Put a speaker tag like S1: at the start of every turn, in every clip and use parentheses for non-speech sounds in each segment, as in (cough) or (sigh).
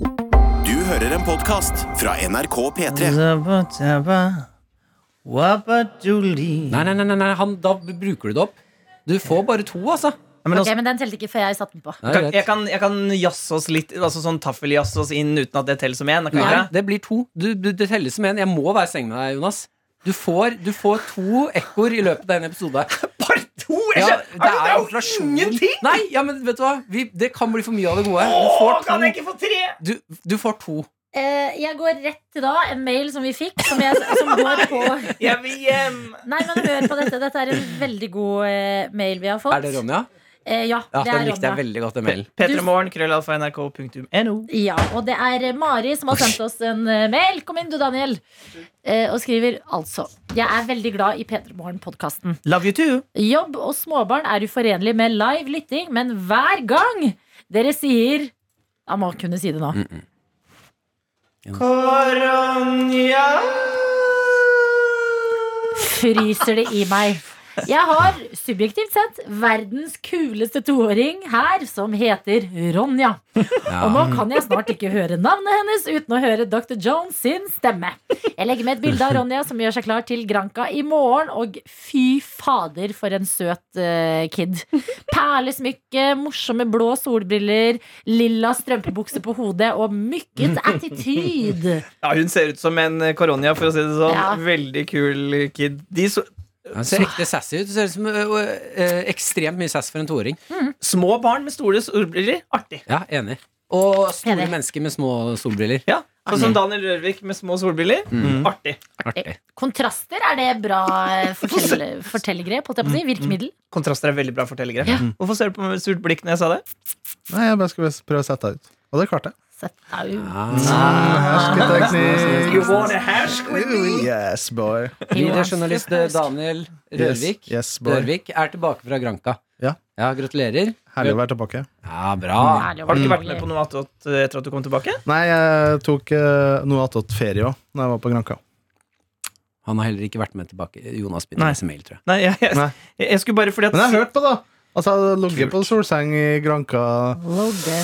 S1: Du hører en podkast fra NRK P3.
S2: Zabba-dabba, wabba-dooli.
S3: Nei, nei, nei, nei, nei han, da bruker du det opp. Du får bare to, altså.
S2: Nei, men
S4: Ok,
S2: altså,
S4: Men den telte ikke før jeg satte den på.
S3: Nei,
S2: kan, jeg,
S3: greit.
S2: kan, jeg kan jazze oss litt Altså sånn taffeljazze oss inn uten at det teller som én. kan jeg
S3: Nei,
S2: ikke?
S3: det blir to. Du, du, det telles som én. Jeg må være streng med deg, Jonas. Du får, du får to ekkoer i løpet av en episode.
S2: (laughs) Bare to! Jeg
S3: Ja,
S2: skjønner-
S3: det
S2: Altså,
S3: er inflasjon.
S2: ingenting!
S3: Nei, ja, men vet du hva? Vi, det kan bli for mye av det gode. Du får
S2: Kan jeg
S3: to.
S2: ikke få tre?
S3: Du, du får to.
S4: Eh, jeg går rett til da en mail som vi fikk, som, jeg, som (laughs) går på
S2: Jeg vil hjem!
S4: Nei, men hør på dette. Dette er en veldig god eh, mail vi har fått.
S3: Er det Ronja?
S4: Eh, ja,
S3: Ja,
S4: det
S3: den
S4: er
S3: likte jeg
S4: Ronja.
S3: veldig godt, den mailen.
S2: P3morgen, krøllalfa, nrk.no.
S4: Ja, og det er Mari som har sendt oss en eh, mail. Kom inn du, Daniel. Eh, og skriver altså Jeg er veldig glad i P3 Morgen-podkasten.
S2: Love you too.
S4: Jobb og småbarn er uforenlig med live lytting, men hver gang dere sier Jeg må kunne si det nå.
S2: Koronja.
S4: Fryser det i meg. Jeg har subjektivt sett verdens kuleste toåring her, som heter Ronja. Og nå kan jeg snart ikke høre navnet hennes uten å høre Dr. Jones sin stemme. Jeg legger med et bilde av Ronja som gjør seg klar til Granka i morgen, og fy fader for en søt eh, kid. Perlesmykke, morsomme blå solbriller, lilla strømpebukse på hodet og mykket attityd.
S2: Ja, hun ser ut som en koronja, for å si det sånn.
S4: Ja.
S2: Veldig kul kid. De så,
S3: Han ser riktig sassy ut. Du ser ut som ø, ø, ø, ekstremt mye sass for en toåring.
S2: små barn med store solbriller. Artig.
S3: Ja, enig. Og store
S4: Enig.
S3: mennesker med små solbriller.
S2: Ja, Sånn
S5: Mm.
S2: som Daniel Rørvik med små solbriller. Artig. Eh,
S3: Artig.
S4: Kontraster, er det bra
S3: (laughs)
S4: eh, fortell, fortellergrep? Holdt jeg på
S3: Mm.
S4: å si. Virkemiddel?
S2: Kontraster er veldig bra fortellergrep.
S4: Ja.
S2: Hvorfor ser du på meg med et surt blikk når jeg sa det?
S5: Nei, jeg bare skulle prøve å sette deg ut. Og det klarte jeg.
S4: Sett deg ut.
S3: Ah.
S5: Hersketeknikk.
S2: wanna hersk
S5: Ooh, Yes, boy.
S3: Videojournalist Daniel Rørvik,
S5: Yes, yes, boy.
S3: Rørvik er tilbake fra Granka.
S5: Ja.
S3: gratulerer.
S5: Herlig å være tilbake.
S3: Ja, bra.
S4: Ærlig,
S2: Har du ikke vært
S5: Mm.
S2: med på noe attåt eh, etter at du kom tilbake?
S5: Nei, jeg tok eh, noe attåt ferie òg, da jeg var på Granka.
S3: Han har heller ikke vært med tilbake. Jonas begynner
S2: Nei.
S3: å lese mail, tror jeg.
S2: Nei, jeg, jeg,
S5: Nei.
S2: jeg, jeg skulle bare fordi at
S5: Men jeg har hørt på, da! Altså, jeg har ligget på solseng i Granka
S4: Lodde.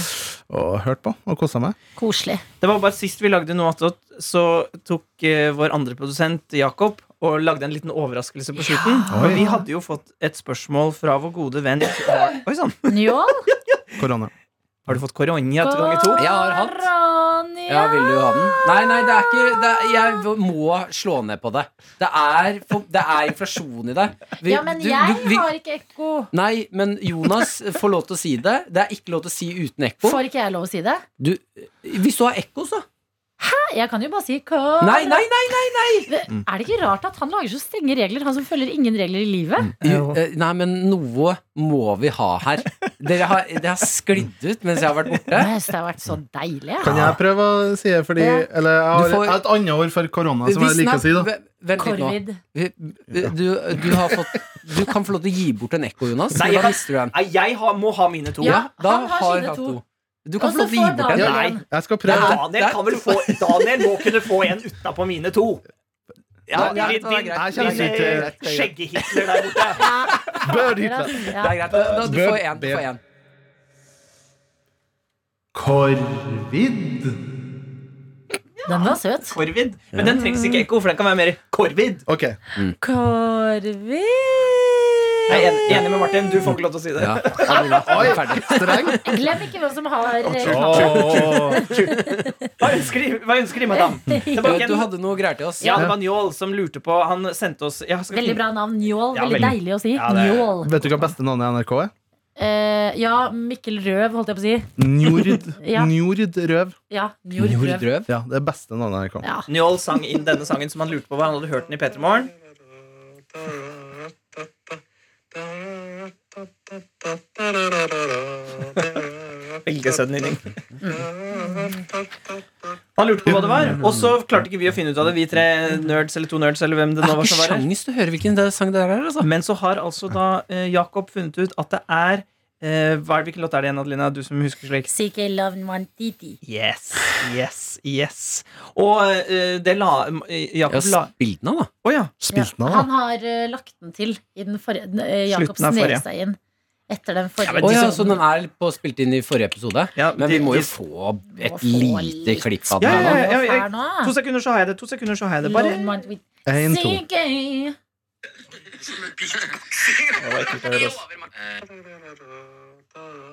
S5: og hørt på og kosa meg.
S4: Koselig.
S2: Det var bare sist vi lagde noe attåt, så tok eh, vår andre produsent Jakob og lagde en liten overraskelse på slutten. Og vi hadde jo fått et spørsmål fra vår gode venn Oi sann!
S4: Njål?
S5: Korona.
S2: Har du fått koronia til ganger to?
S3: (laughs) Jeg har hatt.
S4: Ronja.
S3: Ja, vil du ha den? Nei, nei, det er ikke det er, Jeg må slå ned på det. Det er, for, det er inflasjon i det. Vi-
S4: Ja, men
S3: du-
S4: jeg
S3: du- vi-
S4: har ikke ekko.
S3: Nei, men Jonas får lov til å si det. Det er ikke lov til å si uten ekko.
S4: Får ikke jeg lov å si det?
S3: Du, hvis du har ekko, så.
S4: Jeg kan jo bare si kor-
S3: Nei, nei, Mm. nei! nei.
S4: Er det ikke rart at han lager så strenge regler, han som følger ingen regler i livet?
S3: Jo, eh, Nei, men noe må vi ha her. Dere har, det har sklidd ut mens jeg har vært borte.
S4: Jeg synes det har vært så deilig. jeg.
S5: Kan jeg prøve å si det, fordi
S4: Ja.
S5: Eller jeg har,
S3: Du får-
S5: jeg har et annet ord for korona som jeg liker å si, da.
S3: Vent vent litt nå.
S4: Korvid.
S3: Vi- Du, du, har fått, du kan få lov til å gi bort en ekko, Jonas.
S2: Nei,
S3: Nei,
S2: jeg
S3: da
S2: kan-
S3: mister du den.
S2: Nei, jeg har, må ha mine to.
S4: Ja.
S3: da
S4: han har
S3: har
S4: sine
S3: han
S4: to.
S3: to. Du
S4: Og
S3: kan få
S4: så
S3: lov til å gi
S4: får
S3: bort en.
S4: Daniel
S2: Nei.
S4: en.
S5: Jeg skal
S3: Det
S5: prøve.
S3: er-
S2: Daniel, kan vel få, Daniel må kunne få en utapå mine to. Ja,
S3: Ja,
S2: din,
S3: det er
S2: din,
S3: greit.
S5: Jeg kjenner
S2: din,
S5: ikke
S2: eh,
S5: til-
S2: skjegge-Hitler der borte.
S5: Bør
S4: Ja,
S5: hit.
S3: Det er
S4: ja.
S3: greit. Da, da, du
S5: Bør-
S3: får en, du får en.
S5: Korvid.
S4: Den var søt.
S2: Korvid. Men den trengs ikke ekko, for den kan være mer korvid.
S5: Ok.
S2: Jeg er
S4: Korvid.
S2: enig, enig med Martin. Du får ikke lov til å si det.
S3: (laughs) Ja, Adelina, du er ferdig.
S5: Streng.
S4: Glem ikke hvem som har eh,
S5: Åh.
S2: Hva ønsker de, hva ønsker de madame? Det var ikke
S3: Du
S2: en-
S3: hadde noe greier til oss.
S2: Ja, det var Njål som lurte på Han sendte oss jeg skal
S4: Veldig
S2: finne-
S4: bra navn. Njål.
S2: Ja,
S4: Veldig
S2: veldig.
S4: deilig å si.
S2: Ja, det er-
S4: Njål.
S5: Vet du hva beste navnet i NRK er?
S4: Eh, ja, Mikkel Røv, holdt jeg på å si.
S5: Njord.
S4: (laughs) Ja.
S5: Njord Røv.
S4: Ja, Njord
S3: Njord
S4: Røv.
S3: Røv.
S5: Ja, det er beste navnet i NRK.
S4: Ja.
S2: Njål sang inn denne sangen som han lurte på hva han hadde hørt den i P3 Morgen. Elgesødning. Han lurte på hva det var, og så klarte ikke vi å finne ut av det, vi tre nerds eller to nerds eller hvem det
S3: Jeg
S2: nå
S3: har
S2: var
S3: ikke
S2: som var her.
S3: sjans til å høre hvilken det- sang det der er. Altså.
S2: Men så har altså da eh, Jakob funnet ut at det er eh, hva er det, Hvilken låt er det igjen, Adelina? Du som husker slik.
S4: Seek a love and want titi.
S2: Yes, yes, yes. Og eh, det la eh,
S3: Ja,
S2: Jakob la
S3: spill den av, da.
S2: Å ja.
S5: Spilte den av,
S4: Han
S5: da?
S4: har eh, lagt den til i den forrige uh, Jakob
S2: Slutten av forrige.
S4: Sneseien. etter den
S2: Ja,
S4: forrige.
S2: men
S3: Å ja,
S2: de
S3: så den er på, spilt inn i forrige episode?
S2: Ja,
S3: men
S2: de-
S3: vi må jo
S2: de-
S3: få et
S4: Må få
S3: lite
S4: litt.
S3: klipp av
S2: Ja,
S3: den. her
S2: ja,
S3: nå.
S2: ja, ja, ja.
S4: Hva er nå?
S2: To sekunder, så har jeg det. To sekunder, så har jeg det. Bare
S4: Love Mind with
S5: En, to.
S4: Siggy.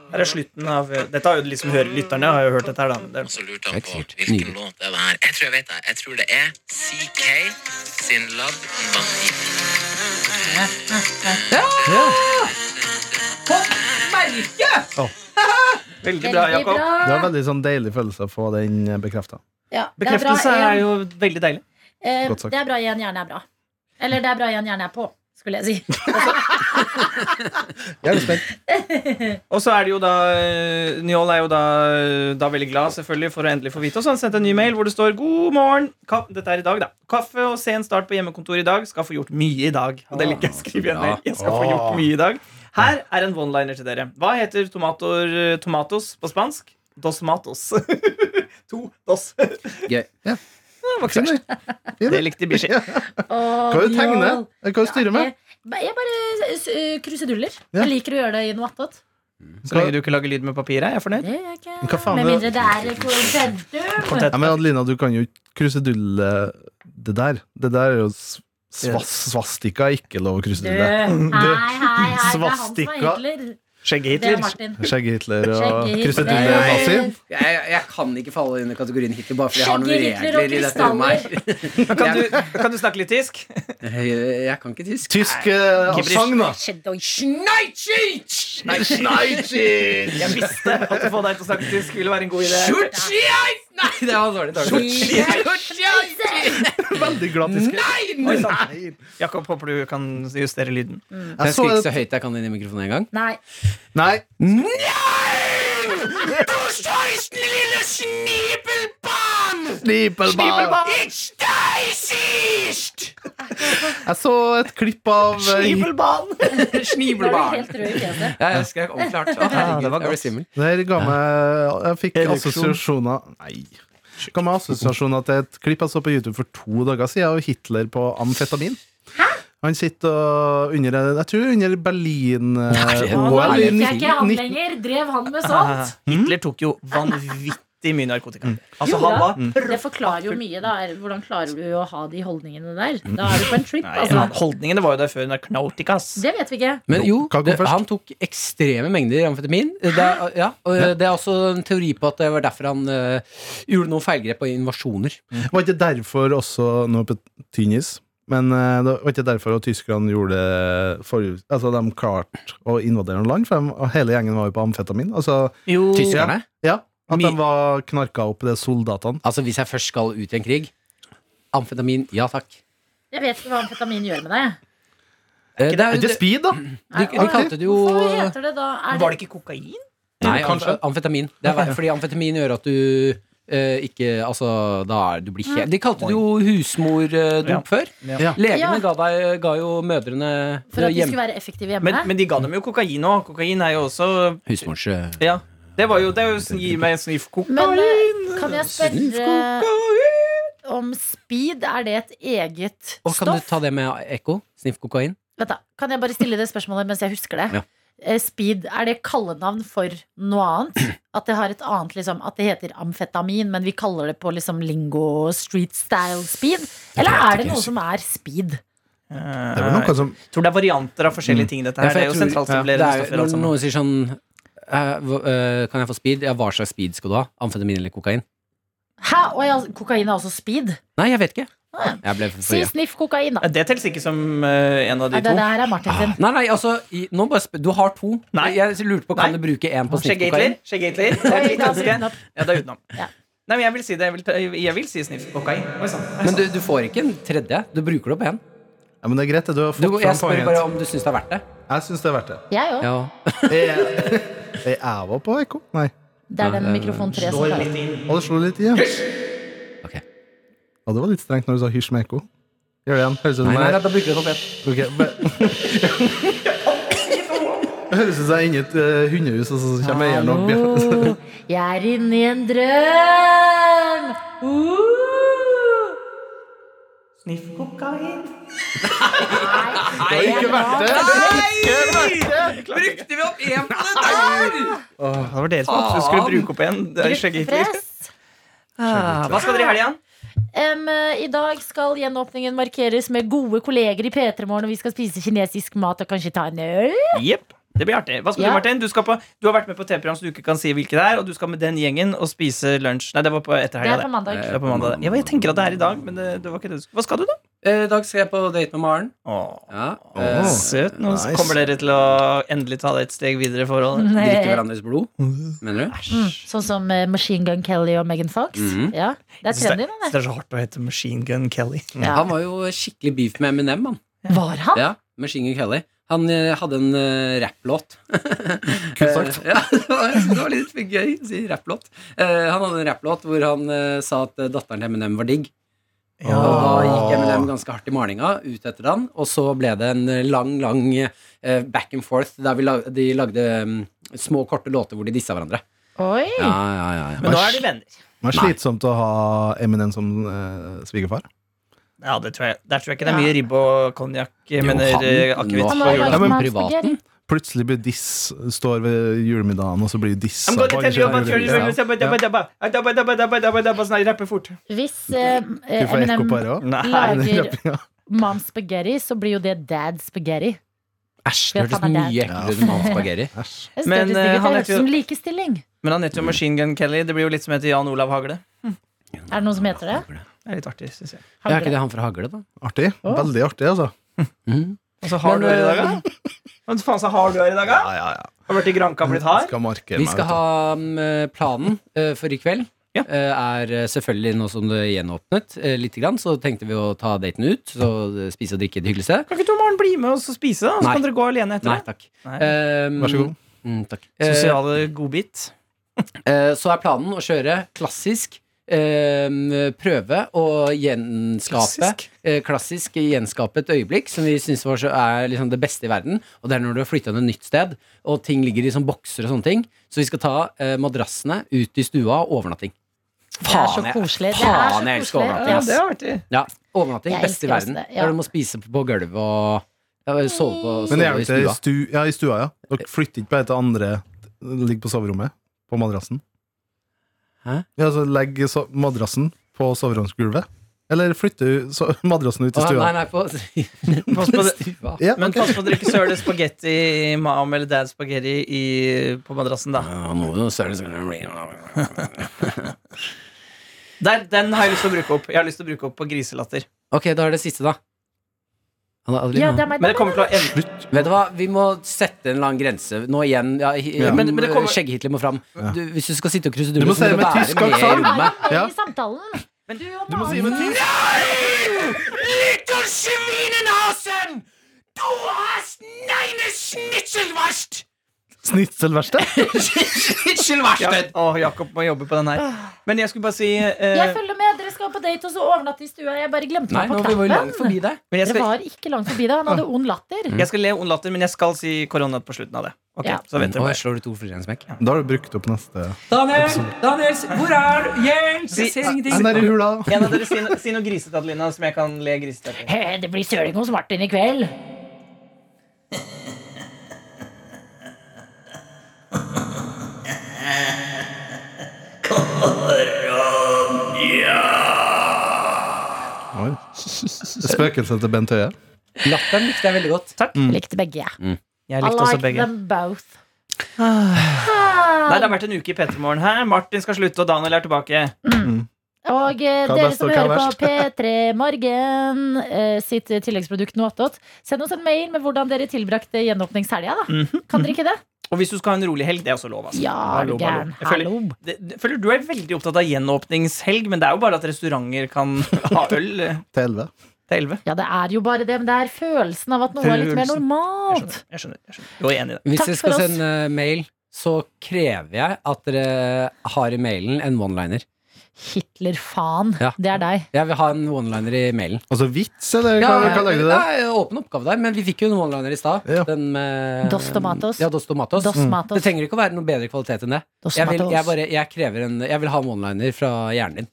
S2: Her er slutten av Dette har jo liksom hørt, lytterne har jo hørt dette her, da. men Det,
S6: Så lurte han
S3: Helt
S6: på
S3: sikkert. Nydelig.
S6: hvilken låt det var. Jeg tror jeg vet det. Jeg tror det er CK sin Love Bandit.
S2: veldig bra,
S4: Veldig
S2: Jakob.
S4: bra.
S5: Det var veldig sånn deilig følelse å få den eh, bekrefta.
S4: Ja, det er bra,
S2: Bekreftelse
S4: en-
S2: er jo veldig deilig.
S4: Eh,
S5: Godt sagt.
S4: Det er bra igjen, gjerne er bra. Eller det er bra igjen, gjerne er på,
S2: (laughs)
S4: skulle jeg si.
S2: Og så er det jo da eh, Njål er jo da, eh, da veldig glad selvfølgelig for å endelig få vite oss. Han sendte en ny mail hvor det står 'God morgen'. Ka dette er i dag, da. 'Kaffe og sen start på hjemmekontoret i dag. Skal få gjort mye i dag'. Og det liker jeg å skrive i en
S3: Ja.
S2: mail. Jeg skal få gjort mye i dag. Her er en one-liner til dere. Hva heter tomator, eh, tomatos på spansk? Dos matos. (laughs) to dos. Det
S3: Gøy.
S2: var ikke så verst. Det likte Bishi.
S4: Hva
S5: Hva er det du tegner? Hva er det du styrer med?
S4: Jeg bare eh, kruseduller.
S5: Ja.
S4: Jeg liker å gjøre det i noe attåt.
S2: Så lenge du ikke lager lyd med papir, er jeg fornøyd.
S4: Det gjør jeg ikke.
S5: Men hva faen
S4: Med
S5: er
S4: mindre det er konsentum.
S5: Ja, men Adelina, du kan jo ikke krusedulle det der. Det der er jo s- svas, svastika er ikke lov å
S4: Du,
S5: krusedulle.
S4: hei, hei, hei, det er han som er
S5: Svastika.
S4: Hitler. Det er
S2: Skjegg-Hitler.
S4: Martin.
S5: Skjegge-Hitler og
S4: Skjegge-Hitler.
S5: krusedulle-nazi.
S3: Jeg, jeg kan ikke falle inn i kategorien Hitler bare fordi jeg har noen
S4: Skjegge-Hitler og
S3: regler i dette rommet. her. (laughs)
S2: Kan du, kan du snakke litt tysk?
S3: Jeg, jeg kan ikke tysk.
S5: Tysk eh, aksent, da.
S3: Schneitschitsch!
S2: Jeg visste at å få deg til å snakke tysk ville være en god idé.
S3: Schutschjeis! Nei, det var dårlig. dårlig. Schutschjeis!
S5: Veldig glad
S4: Mm.
S5: tysk.
S3: Nei!
S2: Jakob, håper du kan justere lyden.
S5: Jeg
S3: Jeg
S5: så
S3: skriker ikke
S5: et
S3: så høyt jeg kan inn i mikrofonen en gang.
S4: Nei.
S5: Nei.
S2: Ah.
S5: Snibelbarn. Jeg så et klipp av eh,
S4: Da er du
S3: Snibelbarn!
S4: helt rød i fjeset.
S3: Ja, jeg skrek ordentlig hardt.
S2: Ja,
S3: Å,
S2: det
S3: herregud,
S2: var
S3: jeg ble
S2: godt.
S3: svimmel.
S5: Det her ga meg Jeg fikk
S2: Ereksjon.
S5: assosiasjoner Nei. Ga meg assosiasjoner til et klipp jeg så på YouTube for to dager siden av Hitler på amfetamin. Han sitter og under Jeg tror under
S2: Eh,
S3: det er
S5: eh,
S4: Han
S5: Berlin-OL i
S4: liker jeg ikke han
S5: 19...
S4: lenger. Drev han med sånt?
S2: Mm. Hitler tok jo vanvittig mye narkotika. Altså, han var
S4: Det forklarer jo mye, da. Er- Hvordan klarer du å ha de holdningene der? Da er du på en trip,
S2: Nei, ja,
S4: altså.
S2: Holdningene var jo der før narkotikas.
S4: Det vet vi ikke.
S3: Men jo,
S5: Hva kom
S3: det,
S5: først?
S3: han tok ekstreme mengder amfetamin. Det er, ja, og det er også en teori på at det var derfor han eh, gjorde noen feilgrep og invasjoner.
S5: Var ikke derfor også noe på Tynis? Men eh, det var ikke derfor at tyskerne gjorde det forut... Altså, de klarte å invadere noen land, for de, og hele gjengen var jo på amfetamin. Altså,
S2: Jo,
S3: Tyskerne?
S5: ja, at de
S3: Mi-
S5: var knarka opp, de soldatene.
S3: Altså, hvis jeg først skal ut i en krig Amfetamin, ja takk.
S4: Jeg vet ikke hva amfetamin gjør med deg.
S3: Eh, Det
S5: Er
S3: er,
S5: ikke det
S3: det,
S5: speed, da?
S3: de, de kalte det jo
S4: Hvorfor heter det da? Er
S2: var det ikke kokain?
S3: Nei,
S5: Kanskje.
S3: amf- amfetamin. Det er verre, fordi amfetamin gjør at du eh, ikke Altså, da er du blir helt De kalte det jo husmordop
S2: Ja.
S3: før.
S5: Ja.
S3: Legene
S4: Ja.
S3: ga, deg, ga jo mødrene
S4: For at de
S3: hjem-
S4: skulle være effektive hjemme?
S2: Men, men de ga dem jo kokain òg. Kokain er jo også
S3: Husmors... eh,
S2: Ja. Det var jo, det er jo sånn, Gi meg en sniff
S4: Men,
S2: kokain.
S4: eh, kan jeg spørre om speed? Er det et eget
S3: Og kan du
S4: stoff?
S3: ta det med ekko? Sniff kokain?
S4: Vent da, Kan jeg bare stille det spørsmålet mens jeg husker det?
S3: Ja.
S4: Eh, Speed, er det kallenavn for noe annet? At det har et annet liksom, at det heter amfetamin, men vi kaller det på liksom lingo street style speed? Eller er det noe som er speed?
S5: Det var noe som
S2: Eh, Jeg tror det er varianter av forskjellige ting. Dette
S3: Ja,
S2: her.
S3: for
S2: Det
S3: jeg
S2: er jo
S3: tror- Det
S2: sentralstimulerende
S3: er,
S2: stoffer.
S3: jo-
S2: alt
S3: når
S2: sammen.
S3: noen sier sånn eh, hva- eh, Kan jeg få speed? Ja, hva slags speed skal du ha? Amfetamin eller kokain?
S4: Hæ? Og ja, kokain er også speed?
S3: Nei, jeg vet ikke.
S4: Ah.
S3: Jeg ble for
S4: Si
S3: forvirra.
S4: sniff kokain, da.
S2: Ja, Det teller ikke som eh, en av
S4: Nei,
S2: de
S4: det
S2: to.
S4: der er Martin sin.
S3: Nei, nei, altså i, nå bare sp Du har to.
S2: Nei.
S3: Jeg lurte på Kan
S2: Nei.
S3: du bruke én på sniff kokain?
S2: Skjegg-Hitler. (laughs) Skjegg-Hitler. Det er
S4: Oi,
S2: litt
S4: da
S2: ønske.
S4: brukte den opp.
S2: Ja, det er utenom.
S4: Ja.
S2: Nei, men jeg vil si det. Jeg vil, ta- jeg vil si sniff kokain. Oi, sånn. sann.
S3: Men du, du får ikke en tredje. Du bruker det opp én.
S5: Ja, men det er greit, det. Du har
S3: Du,
S5: fått
S3: jeg
S5: fram
S3: spør
S5: poenget.
S3: bare om du syns det er verdt det.
S5: Jeg syns det er verdt det.
S4: Jeg òg.
S3: Ja.
S5: (laughs) Jeg, jeg var på ekko. Nei.
S4: Det er den mikrofon 3 som klarer det.
S5: Og det slo litt i, ja.
S3: Ok.
S5: Ja, det var litt strengt når du sa hysj med ekko. Gjør det igjen. Høres
S3: (laughs)
S5: ut som
S3: Nei, nei,
S5: jeg
S3: da bruker du det opp én.
S5: Ok, men- (laughs) Høres ut som jeg er inne i et eh, hundehus, og så kommer jeg igjen og bjeffer.
S4: Hallo, jeg er inne i en drøm! Uh!
S2: Sniff kokain.
S4: Nei,
S5: Det har ikke vært det! det har ikke vært det.
S3: Brukte vi opp én på det der?!
S2: Åh, det var dere som absolutt skulle bruke opp en. Det er skjeggehitler.
S4: Gruppepress.
S2: Ah, Hva skal dere i helga?
S4: Em, eh, I dag skal gjenåpningen markeres med gode kolleger i P3 Morgen, og vi skal spise kinesisk mat og kanskje ta en øl.
S2: Jepp. Det blir artig. Hva skal
S4: Ja.
S2: du, Martin? Du, skal på, du har vært med på TV-program, så du ikke kan si hvilket det er, og du skal med den gjengen og spise lunsj. Nei, det var på etter
S4: Det er
S2: helga.
S4: på
S2: det.
S4: mandag.
S2: Det er på mandag. Jeg, jeg tenker at det er i dag, men det, det var ikke det du skulle. Hva skal du, da?
S3: Eh, I dag skal jeg på date med Maren.
S2: Åh,
S3: Ja.
S5: Åh.
S3: eh,
S2: Søt. Nå
S5: Nice.
S2: kommer dere til å endelig ta det et steg videre i forholdet.
S3: Drikke
S4: Mm,
S3: hverandres blod, mener du?
S4: Sånn som eh, Machine Gun Kelly og Megan Fox.
S3: Mhm.
S4: Ja, Det er
S2: Jeg synes
S4: trendy, det.
S2: synes det er så hardt å hete Machine Gun Kelly.
S4: Ja.
S3: Han var jo skikkelig beef med Eminem, han.
S4: Var han?
S3: Ja, med Shinger Kelly. Han eh, hadde en uh, (laughs) rapplåt.
S5: Kult sagt.
S3: Eh, ja, (laughs) det var, det var litt gøy å si rapplåt. Eh, han hadde en rapplåt hvor han eh, sa at eh, datteren til Eminem var digg.
S2: Ja.
S3: Og da gikk Eminem ganske hardt i malinga ut etter han, og så ble det en lang, lang eh, back and forth der vi lag, de lagde mm, små, korte låter hvor de dissa hverandre.
S4: Oi!
S3: Ja, ja, ja, ja.
S2: Men nå er de venner.
S5: Det var slitsomt å ha Eminem som eh, svigerfar.
S2: Ja, det tror jeg. Der tror jeg ikke det er mye ribbe og konjakk,
S3: Jo,
S2: men eh,
S3: han-
S2: akevitt.
S4: Han
S3: Hva
S4: var
S3: gjør
S4: jo
S3: du
S4: bare
S3: med
S4: med
S3: privaten?
S4: spagetti.
S5: Plutselig blir diss står ved julemiddagen, og så blir dissa.
S2: I'm gonna tell you about your
S5: Ja.
S2: Sånn, jeg rapper fort.
S4: Hvis eh,
S5: Du får ekko
S4: Eminem
S5: på det òg.
S2: Nei.
S4: (laughs) lager
S5: Rappinga.
S4: Mom Spaghetti, så blir jo det Dad Spaghetti.
S3: Æsj, det
S4: Vet
S3: hørtes
S4: han er
S3: mye
S5: dad.
S3: eklere ut enn hans spagetti.
S5: Æsj.
S4: Jeg synes
S2: Men,
S4: det
S2: eh,
S4: høres digg ut.
S2: han heter
S4: Det høres
S2: jo-
S4: som likestilling.
S2: Men han heter jo Machine Gun Kelly. Det blir jo litt som heter Jan Olav Hagle.
S4: Er det noen som heter det?
S2: Det er litt artig, synes jeg.
S3: Ja, er ikke det (laughs) han fra Hagle, da?
S5: Artig. Veldig artig, altså.
S3: Mhm.
S2: Og så har
S3: Men,
S2: du her i dag, da? Hva faen eh, så har du her i dag, da?
S5: Ja, ja, ja.
S2: Har vært i Granka blitt hard?
S5: Skal markere
S3: Vi
S5: meg,
S3: skal
S5: vet
S3: ha mm, planen eh, for i kveld.
S2: Ja.
S3: eh, Er eh, selvfølgelig nå som det er gjenåpnet eh, lite grann, så tenkte vi å ta daten ut. Så eh, spise og drikke et hyggelig sted.
S2: Kan ikke Tom Arne bli med oss og spise, da? Og så
S3: Nei.
S2: kan dere gå alene etter
S3: Nei
S2: det.
S3: takk.
S2: Nei.
S3: Um,
S5: du. Vær så god.
S3: Mm, takk. Eh,
S2: Sosiale godbit.
S3: eh, så er planen å kjøre klassisk. eh, prøve å gjenskape
S2: Klassisk.
S3: eh, klassisk gjenskape et øyeblikk som vi syns er liksom det beste i verden. Og det er når du har flytta til et nytt sted, og ting ligger i sånn bokser og sånne ting. Så vi skal ta eh, madrassene ut i stua og overnatting.
S4: Det er så
S3: Faen, jeg-
S4: koselig. Det er så
S3: Faen, jeg elsker
S4: koselig.
S3: overnatting,
S2: Ja,
S3: ass.
S2: det er artig.
S3: Ja, overnatting.
S4: Jeg
S3: Beste i
S4: elsker også
S3: verden.
S4: det, ja.
S3: Der du må spise på gulvet og ja, sove på
S5: Men det
S3: sove i
S5: er jo
S3: stua.
S5: ikke i stu, ja, i stua, ja. Dere flytter ikke bare til andre Ligg på soverommet på madrassen.
S3: Hæ?
S5: Ja, så legg so madrassen på soveromsgulvet. Eller flytter du so (laughs) madrassen ut
S3: Å,
S5: i
S3: Nei,
S5: stua.
S3: nei,
S5: (laughs)
S3: på,
S2: Pass på
S3: på
S2: det.
S3: stua.
S5: Ja,
S2: Men
S5: ok.
S2: pass på at dere ikke søler spagetti i mam eller dad spagetti i, på madrassen, da.
S3: Ja, nå- nå ser det sånn-
S2: Der, den har jeg lyst til å bruke opp. Jeg har lyst til å bruke opp på griselatter.
S3: Ok, da er det siste, da. Han er Adeline,
S4: Ja,
S3: han.
S4: det er meg.
S2: Men det kommer til å ende
S3: Vet du hva, vi må sette en eller annen grense Nå igjen, ja, eh,
S5: Ja.
S2: Men- men det kommer-
S3: Skjegg-Hitler må fram
S5: Ja.
S3: du, Hvis du skal sitte og krysse dure
S5: Du må
S3: så
S5: si det med
S3: være
S5: tysk
S3: med i
S5: aksent.
S4: Er
S3: rommet.
S4: du med
S5: Ja.
S4: i samtalen?
S2: Men-
S4: du og
S5: Du må si
S4: mannen.
S5: med tysk.
S3: (laughs)
S5: Snitselverksted?
S2: Ja, å, Jakob må jobbe på den her. Men jeg skulle bare si eh,
S4: Jeg følger med. Dere skal på date og så overnatte i stua. Jeg bare glemte
S3: Nei,
S4: meg
S3: nå
S4: på
S3: var vi jo
S4: knappen.
S3: langt forbi det
S2: men jeg
S4: Det
S2: skal, Mm.
S4: var ikke langt forbi det. Han hadde ond latter.
S2: jeg skal le ond latter, men jeg skal si korona på slutten av det. Ok,
S4: Ja.
S2: så vet dere
S3: Åh,
S2: hva
S3: jeg slår ut ord for en smekk
S5: Da har du brukt opp neste
S3: Daniel, Daniel, hvor er du? Hjelp,
S2: Si-
S3: jeg ser
S5: Den der i
S3: ingenting
S5: hula.
S2: En av dere si, no- si noe grisete, Adelina, som jeg kan le grisete etter.
S4: He, det blir søling hos Martin i kveld.
S5: Oi. Spøkelset til Bent Høie.
S3: Latteren likte jeg veldig godt Mm.
S4: Likte begge, jeg.
S2: Jeg
S4: I
S2: likte også
S4: liked
S2: begge.
S4: them both.
S2: Nei, Det har vært en uke i P3morgen her. Martin skal slutte, og Daniel er tilbake.
S4: Og eh,
S5: Hva er
S4: dere
S5: best,
S4: som
S5: og hva er
S4: hører på P3 Morgen eh, sitt tilleggsprodukt Noatot, send oss en mail med hvordan dere tilbrakte gjenåpningshelga, da. Kan dere ikke det?
S2: Og hvis du skal ha en rolig helg, det er også lov. Altså.
S4: Ja,
S2: Hallo,
S4: gæren.
S2: Jeg føler,
S4: Hallo.
S2: det, det- føler Du er veldig opptatt av gjenåpningshelg, men det er jo bare at restauranter kan (laughs) ha øl eh,
S5: Til elleve.
S2: til elleve.
S4: Ja, det er jo bare det, men det er følelsen av at noe er litt mer
S2: Følelsen. Jeg
S4: normalt.
S2: skjønner. jeg skjønner, jeg skjønner. Jo, jeg er enig i det.
S3: Hvis
S4: Takk
S3: dere skal
S4: for oss.
S3: sende mail Så krever jeg at dere har i mailen en one-liner
S4: Hitler-faen.
S3: Ja.
S4: Det er deg.
S3: Jeg vil ha en one-liner i mailen
S5: Altså vits, eller hva, hva legger
S3: det
S5: du der?
S3: er åpen oppgave der Men vi fikk jo en one-liner i stad
S5: Ja.
S3: Den med-
S4: Dos tomatos.
S3: Ja, Dos Tomatos
S4: Dos matos.
S3: Det trenger ikke å være noe bedre kvalitet enn det
S4: Dos
S3: jeg vil,
S4: matos.
S3: jeg bare, jeg krever en, jeg vil ha en one-liner fra hjernen din.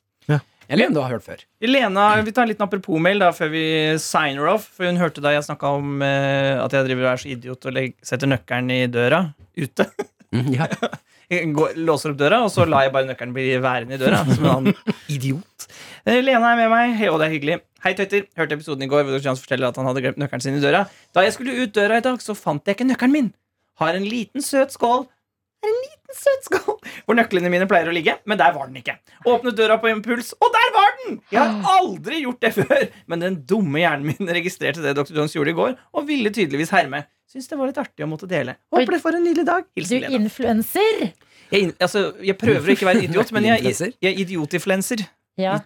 S3: Eller om du har hørt før.
S2: Lena, vi tar en liten apropos-mail da før vi signer off. For hun hørte da jeg snakka om eh, at jeg driver og er så idiot og legg- setter nøkkelen i døra ute.
S3: Mm, ja. (laughs)
S2: Jeg går, låser opp døra, og så lar jeg bare nøkkelen bli værende i døra. Som en
S4: (laughs)
S2: annen idiot. Eh, Lena er med meg, Hei, og det er hyggelig. Hei, tøyter. Hørte episoden i går hvor Johans forteller at han hadde glemt nøkkelen sin i døra. Da jeg skulle ut døra i dag, så fant jeg ikke nøkkelen min. Har en liten, søt skål. Har en liten, søt skål hvor nøklene mine pleier å ligge, men der var den ikke. Åpnet døra på impuls, og der var den! Jeg
S4: (gasps)
S2: har aldri gjort det før, men den dumme hjernen min (laughs) registrerte det Dr. Jones gjorde i går, og ville tydeligvis herme. Syns det var litt artig å måtte dele.
S4: Oi.
S2: Håper det får en nydelig dag.
S4: Du
S2: Hilsen Lena.
S4: influenser.
S2: Jeg, inn- altså, jeg prøver å ikke være idiot, men jeg,
S3: Influencer?
S2: jeg er idiotinfluenser.
S4: Ja.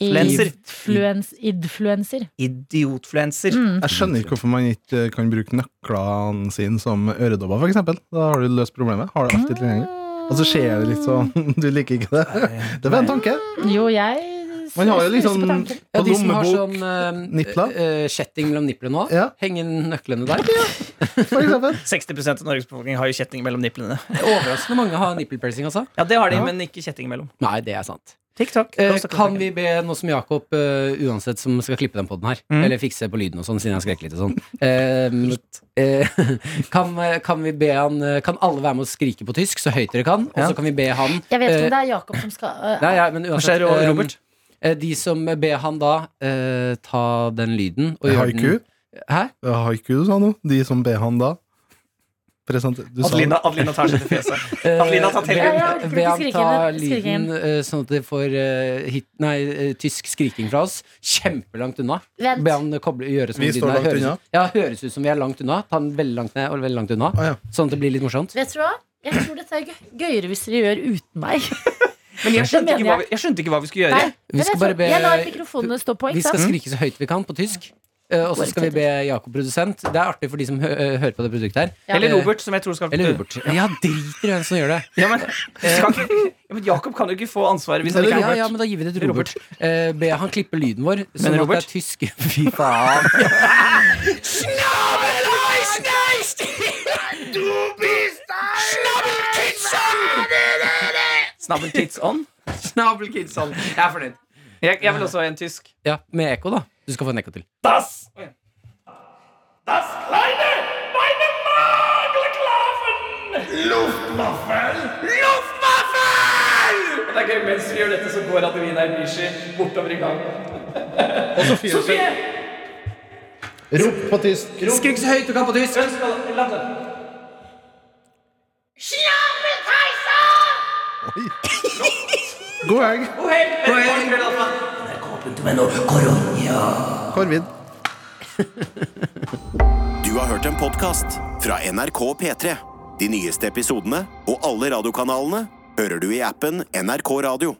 S2: Influencer.
S3: Idiotflenser.
S4: Influens, influenser.
S2: Idiotfluenser.
S4: Mm.
S5: Jeg skjønner ikke hvorfor man ikke eh, kan bruke nøklene sine som øredobber, for eksempel. Da har du løst problemet. Har det alltid tilgjengelig. Og
S2: Altså,
S5: så skjer det litt sånn Du liker ikke det. Det var en tanke.
S4: Jo, jeg
S5: Man har jo litt
S2: liksom,
S4: snuser på
S5: sånn
S4: tanken.
S3: Ja,
S5: på
S3: de som har
S5: lommebok,
S3: sånn eh,
S5: nippler.
S3: eh, kjetting mellom nipplene nå.
S5: Ja.
S3: Henge nøklene der.
S5: for eksempel.
S2: 60 av Norges befolkning har jo kjetting mellom nipplene.
S3: Overraskende mange har nippelpiercing, altså.
S2: Ja, det har de,
S5: Ja.
S2: men ikke kjetting mellom.
S3: Nei, det er sant.
S2: TikTok.
S3: Eh,
S2: Kosta-
S3: kan vi be noe som Jakob, eh, uansett som skal klippe den podden her,
S2: Mm.
S3: eller fikse på lyden og sånn, siden jeg skrek litt og sånn eh, eh, (laughs) kan, kan vi be han eh, Kan alle være med å skrike på tysk så høyt dere kan, og
S2: Ja.
S3: så kan vi be han
S4: Jeg vet ikke om
S3: eh,
S4: det er Jakob som skal øh,
S3: Nei, ja, men uansett
S2: skjer,
S3: eh,
S2: Robert?
S3: eh, De som ber han da eh, ta den lyden og gjøre
S5: Haiku.
S3: den Hæ?
S5: Det var Haiku du sa nå. De som ber han da. Presenter. Du sa
S2: Adelina, Adelina tar seg til fjeset.
S3: Eh,
S2: Adelina, ta til.
S3: be-
S4: Ja, jeg orker ikke
S3: be han
S4: skrike
S3: ta
S4: henne. Skrike
S3: lyden eh, sånn at de får eh, hit, nei, eh, tysk skriking fra oss kjempelangt unna.
S4: Vent.
S3: Be han eh, koble, gjøre som
S5: Vi
S3: lyden
S5: står
S3: er.
S5: langt
S3: høres,
S5: unna.
S3: Ja, høres ut som vi er langt unna. Ta den veldig langt ned og veldig langt unna.
S5: Å, ja.
S3: Sånn at det blir litt morsomt.
S4: Vet du hva? Jeg tror dette er gøy- gøyere hvis dere gjør uten meg.
S2: Men
S4: (laughs)
S2: jeg skjønte,
S4: mener
S2: ikke hva vi, jeg skjønte ikke hva vi skulle gjøre.
S4: Nei, men
S3: skal
S4: jeg,
S3: bare
S4: tror,
S3: be-
S4: jeg lar mikrofonene stå på,
S3: Vi
S4: ikke
S3: skal
S5: Mm.
S4: sant?
S3: skrike så høyt vi kan på tysk. eh, og så skal vi be Jakob produsent. Det er artig for de som hø eh, hører på det produktet her.
S4: Ja.
S2: Eller Robert, som jeg tror skal
S3: Eller Robert. Ja, driter i hvem som gjør det.
S2: Ja, men, skal ikke, (laughs) ja, men Jakob kan jo ikke få ansvaret hvis han ikke er
S3: Ja,
S2: Robert.
S3: ja, men da gir vi det til Robert. Eh, be han klippe lyden vår, sånn at det
S2: Robert?
S3: er tysk. (laughs) Fy faen.
S5: (laughs)
S2: Snabel tits on.
S3: Snabelkidson. Jeg er fornøyd.
S2: Jeg, jeg vil også ha en tysk.
S3: Ja, med ekko, da. Du skal få en ekko til.
S2: Das! Det er gøy, mens vi gjør dette, så går Adelina Ibishi bortover i gangen. Sofie!
S5: Rop på tysk.
S3: Skrik så høyt du kan på tysk!
S2: Ønsk alle lande.
S5: God helg. Korvid.
S1: Du har hørt en podkast fra NRK P3. De nyeste episodene og alle radiokanalene hører du i appen NRK Radio.